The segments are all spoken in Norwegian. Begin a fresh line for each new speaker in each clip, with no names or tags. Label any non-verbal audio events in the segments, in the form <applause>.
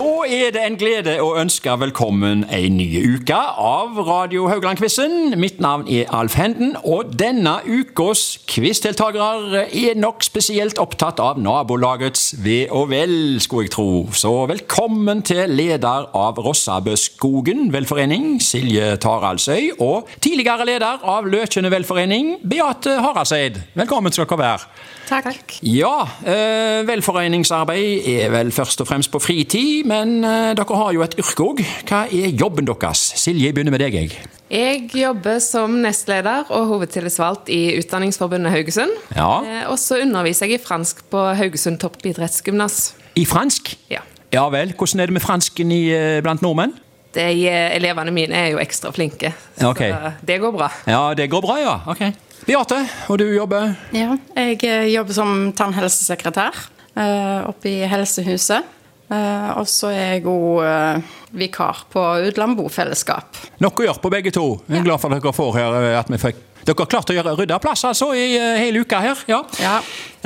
Da er det en glede å ønske velkommen en ny uke av Radio Haugland-quizen. Mitt navn er Alf Henden, og denne ukas quizdeltakere er nok spesielt opptatt av nabolagets ve og vel, skulle jeg tro. Så velkommen til leder av Rossabøskogen velforening, Silje Taraldsøy, og tidligere leder av Løkjene velforening, Beate Haraseid. Velkommen skal dere være.
Takk.
Ja, eh, velforeningsarbeid er vel først og fremst på fritid, men eh, dere har jo et yrke òg. Hva er jobben deres? Silje, jeg begynner med deg, jeg.
Jeg jobber som nestleder og hovedtillitsvalgt i Utdanningsforbundet Haugesund.
Ja.
Eh, Og så underviser jeg i fransk på Haugesund toppidrettsgymnas.
I fransk?
Ja.
Ja vel. Hvordan er det med fransken i, eh, blant nordmenn?
De, eh, elevene mine er jo ekstra flinke, så
Ok.
det går bra.
Ja, det går bra, ja. Ok. Beate, og du jobber?
Ja, jeg eh, jobber som tannhelsesekretær eh, oppe i helsehuset. Eh, og så er jeg òg eh, vikar på Udland bofellesskap.
Nok å gjøre på begge to. Jeg er glad for at dere får her eh, at vi fikk dere har klart å gjøre rydda plass altså, i eh, hele uka her. Ja.
Ja.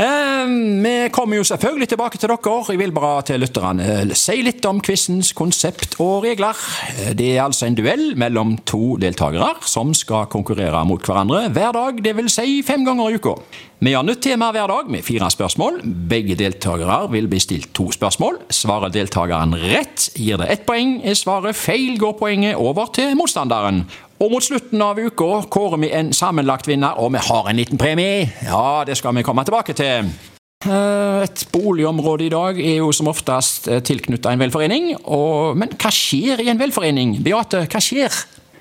Eh, vi kommer jo selvfølgelig tilbake til dere. Jeg vil bare til lytterne eh, si litt om quizens konsept og regler. Eh, Det er altså en duell mellom to deltakere som skal konkurrere mot hverandre hver dag, dvs. Si fem ganger i uka. Vi har nytt tema hver dag med fire spørsmål. Begge deltakere vil bli stilt to spørsmål. Svarer deltakeren rett, gir det ett poeng. Er svaret feil, går poenget over til motstanderen. Og mot slutten av uka kårer vi en sammenlagt vinner, og vi har en liten premie. Ja, det skal vi komme tilbake til. Eh, Et boligområde i dag er jo som oftest tilknytta en velforening. Og, men hva skjer i en velforening? Beate, hva skjer?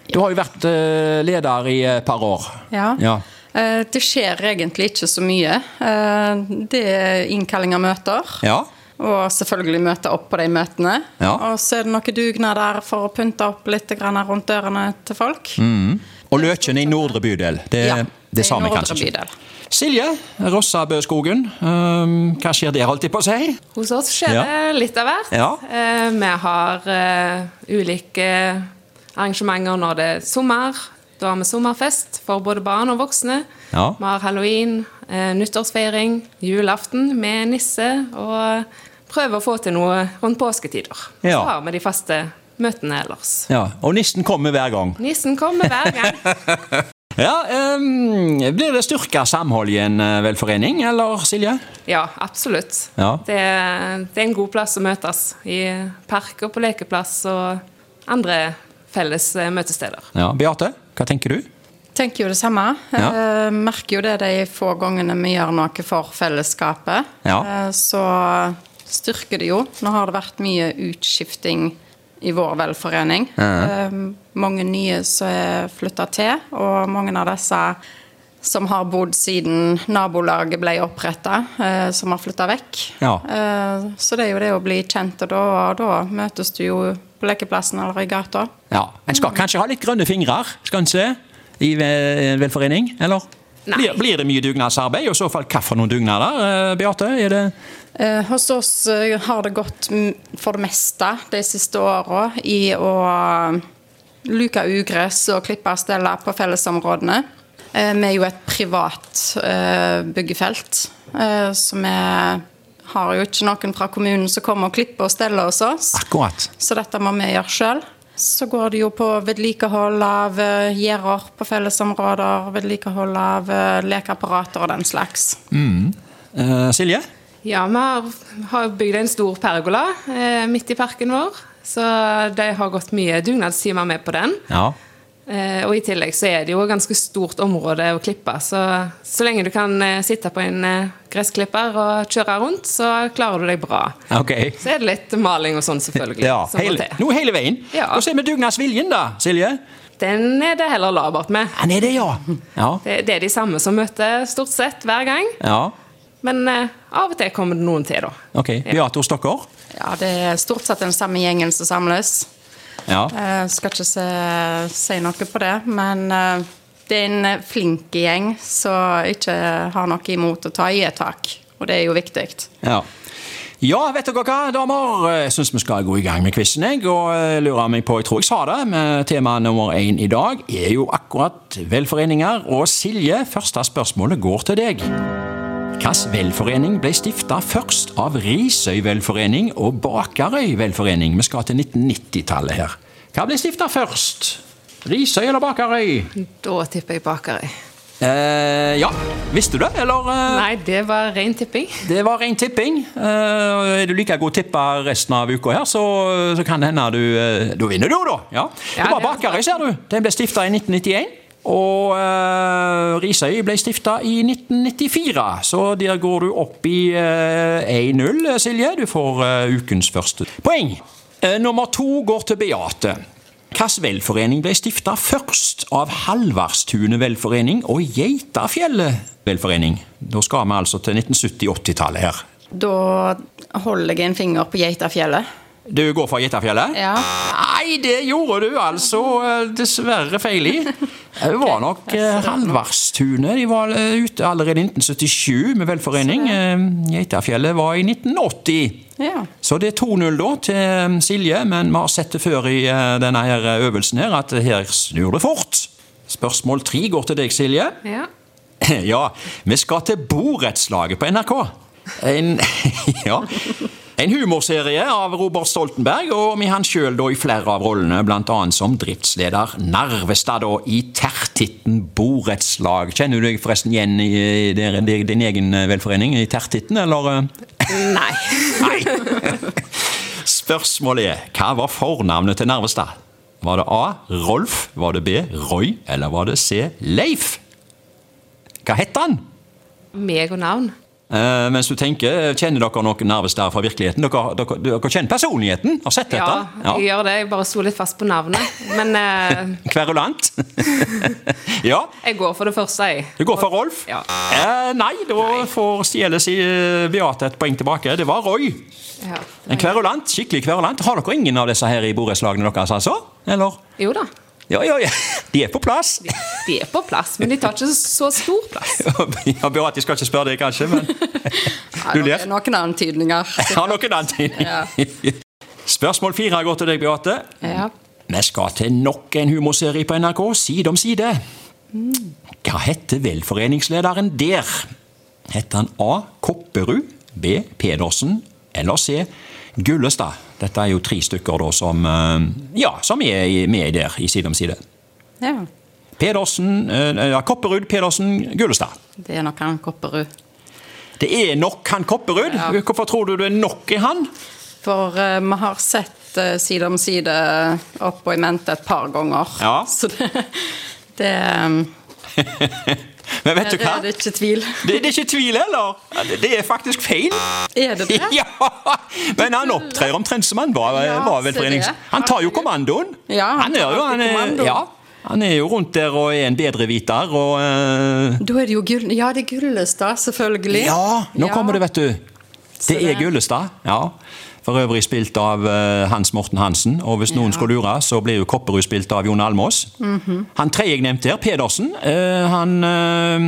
Du har jo vært eh, leder i et par år.
Ja.
ja.
Eh, det skjer egentlig ikke så mye. Eh, det er innkalling av møter.
Ja.
Og selvfølgelig møte opp på de møtene.
Ja.
Og så er det noen dugnader for å pynte opp litt grann rundt dørene til folk.
Og Løken i nordre bydel. Det,
Ja,
Mm. Eh, det
det er
sa vi
nordre
kanskje ikke.
bydel.
Silje Rossabøskogen, ehm, hva skjer der, holdt jeg på å si?
Hos oss skjer
Ja.
det litt av hvert.
Ja.
Eh, Vi har eh, ulike arrangementer når det er sommer. Da har vi sommerfest for både barn og voksne.
Ja.
Vi har halloween, eh, nyttårsfeiring, julaften med nisse. Og prøver å få til noe rundt påsketider.
Ja.
Så har vi de faste møtene ellers.
Ja, og nissen kommer hver gang.
Nissen kommer hver gang.
<laughs> Ja, ehm, Blir det styrka samhold i en eh, velforening, eller Silje?
Ja, absolutt.
Ja.
Det, det er en god plass å møtes. I park og på lekeplass og andre felles eh, møtesteder.
Ja, Beate, hva tenker du?
Tenker jo det samme.
Ja.
Eh, merker jo det de få gangene vi gjør noe for fellesskapet.
Ja.
Eh, så styrker det jo. Nå har det vært mye utskifting i vår velforening. Eh, mange nye som er flytta til, og mange av disse som har bodd siden nabolaget ble oppretta, eh, som har flytta vekk.
Ja.
Eh, så det er jo det å bli kjent, og da, og da møtes du jo på lekeplassen eller i gata.
Ja, En skal kanskje ha litt grønne fingre, skal en se, i ve- en velforening? Eller?
Nei.
Blir, blir det mye dugnadsarbeid? Og i så fall, hva for noen dugnader, eh, Beate? Er det
Eh, Hos oss eh, har det gått mm, for det meste de siste åra i å eh, luke ugress og klippe og stelle på fellesområdene. Eh, Vi er jo et privat eh, byggefelt, eh, så vi har jo ikke noen fra kommunen som kommer og klipper og steller hos oss.
akkurat?
Så dette må vi gjøre sjøl. Så går det jo på vedlikehold av eh, gjerder på fellesområder, vedlikehold av eh, lekeapparater og den slags.
Eh, Silje?
Ja, vi har, har bygd en stor pergola eh, midt i parken vår. Så de har gått mye dugnadstimer med på den.
Ja.
Eh, og i tillegg så er det jo et ganske stort område å klippe. Så, så lenge du kan eh, sitte på en eh, gressklipper og kjøre rundt, så klarer du deg bra.
Ok.
Så er det litt maling og sånn, selvfølgelig.
Ja,
som må
hele,
til.
nå hele veien.
Ja.
Og så er vi dugnadsviljen, da, Silje.
Den er det heller labert med.
Han er det, ja. Ja.
Det, det er de samme som møter stort sett hver gang.
ja.
Men eh, av og til kommer det noen til, da.
Ok. Beate hos dere.
Ja, det er stort sett den samme gjengen som samles.
Ja.
Eh, skal ikke se, si noe på det, men eh, det er en flink gjeng som ikke har noe imot å ta i et tak, og det er jo viktig.
ja. Ja, vet dere hva, damer? Jeg syns vi skal gå i gang med quizen. Jeg og eh, lurer meg på, jeg tror jeg sa det, men eh, tema nummer én i dag er jo akkurat velforeninger. Og Silje, første spørsmålet går til deg. Hvilken velforening ble stifta først av Risøy velforening og Bakarøy velforening? Vi skal til 1990-tallet her. Hva ble stifta først? Risøy eller Bakarøy?
Da tipper jeg Bakerøy.
Eh, ja, visste du det, eller? eh,
Nei, det var ren tipping.
Det var ren tipping. Eh, og er du like god tipper resten av uka her, så, så kan det hende du eh, Da vinner du, da! Ja.
Ja,
det var
det er
Bakarøy, ser du. Den ble stifta i 1991. Og eh, Risøy ble stifta i 1994, så der går du opp i eh, 1-0, Silje. Du får eh, ukens første poeng. Eh, nummer to går til Beate. Hvilken velforening ble stifta først av Halvardstunet velforening og Geitafjellet velforening? Da skal vi altså til 1970-80-tallet her.
Da holder jeg en finger på Geitafjellet.
Du går for Geitafjellet?
Ja.
Nei, det gjorde du altså eh, dessverre feil i.
<laughs>
Det var nok eh, Halvardstunet. De var eh, ute allerede i 1977 med velforening. Eh, Geitafjellet var i 1980.
Ja.
Så det er 2-0 da til eh, Silje, men vi har sett det før i eh, denne her øvelsen her, at her snur det fort. Spørsmål tre går til deg, Silje.
Ja.
<laughs> Ja, vi skal til Borettslaget på NRK. En, <laughs> ja, en humorserie av Robert Stoltenberg, og med han sjøl i flere av rollene, bl.a. som driftsleder Narvestad da, i Tertitten borettslag. Kjenner du deg forresten igjen i eh, dere- din din egen eh, velforening i Tertitten, eller? eh?
Nei.
Nei. Spørsmålet er, hva var fornavnet til Narvestad? Var det A. Rolf, var det B. Roy, eller var det C. Leif? Hva het han?
Meg og navn.
Eh, mens du tenker, kjenner dere noen Narvestad fra virkeligheten? Dere, dere, dere kjenner personligheten? Har sett dette?
Ja, jeg gjør det. Jeg bare sto litt fast på navnet. Men eh,
Kverulant? <laughs> ja.
jeg går for det første, jeg.
Du går for Rolf?
Ja.
Eh, nei, da får stjeles i eh, Beate et poeng tilbake. Det var Roy.
Ja.
En kverulant, skikkelig kverulant. Har dere ingen av disse her i borettslagene deres, altså? Eller?
Jo da.
Ja, ja, <laughs> ja. De er på plass.
De er på plass, men de tar ikke så stor plass.
<laughs> Ja, Beate, jeg skal ikke spørre deg, kanskje,
<laughs>
men Du
Nei,
ler.
Noen antydninger.
<laughs> jeg har noen antydninger. <laughs> Spørsmål fire går til deg, Beate.
Ja.
Vi skal til nok en humorserie på NRK, Side om side. Hva heter velforeningslederen der? Heter han A. Kopperud, B. Pedersen eller C. Gullestad? Dette er jo tre stykker da som, eh, ja, som er i- med der i Side om side.
Ja.
Pedersen, eh, ja, Kopperud, Pedersen, Gullestad.
Det er nok han Kopperud.
Det er nok han Kopperud. Hvorfor tror du det er nok i han?
For eh, vi har sett eh, side om side opp og i mente et par ganger.
Ja.
Så det, det um,
Men vet
her
du hva?
er det ikke tvil.
Det, det er ikke tvil heller. Det- Det er faktisk feil.
Er det det?
<laughs> Ja, Men han opptrer omtrent som han var,
Ja,
var
se det.
velforenings... Han tar jo kommandoen.
Ja, han
han, er
tar
jo, han,
alltid
er,
kommandoen.
ja, han er jo rundt der og er en bedreviter og eh,
Da er det jo gull... Ja, det er Gullestad, selvfølgelig.
Ja, nå
Ja.
kommer det, vet du. Det er
det-
Gullestad. ja. For øvrig spilt av eh, Hans Morten Hansen. Og hvis noen skulle lure, så blir jo Kopperud spilt av Jon Almås. Han tredje jeg nevnte her, Pedersen, eh, han eh,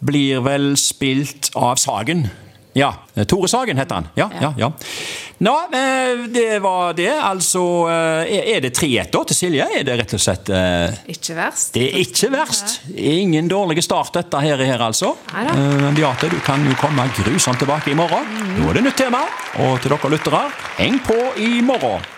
blir vel spilt av Sagen. Ja. eh, Tore Sagen heter han. Ja, ja, ja. Nå, eh, det var det. Altså, eh, er- er det 3-1 da til Silje? Er det rett og slett eh,
Ikke verst.
det er ikke verst. Ingen dårlig start dette her, her altså.
Neida.
Eh, Men Beate, du kan jo komme grusomt tilbake i morgen. Nå er det nytt tema. Og til dere lyttere, heng på i morgen.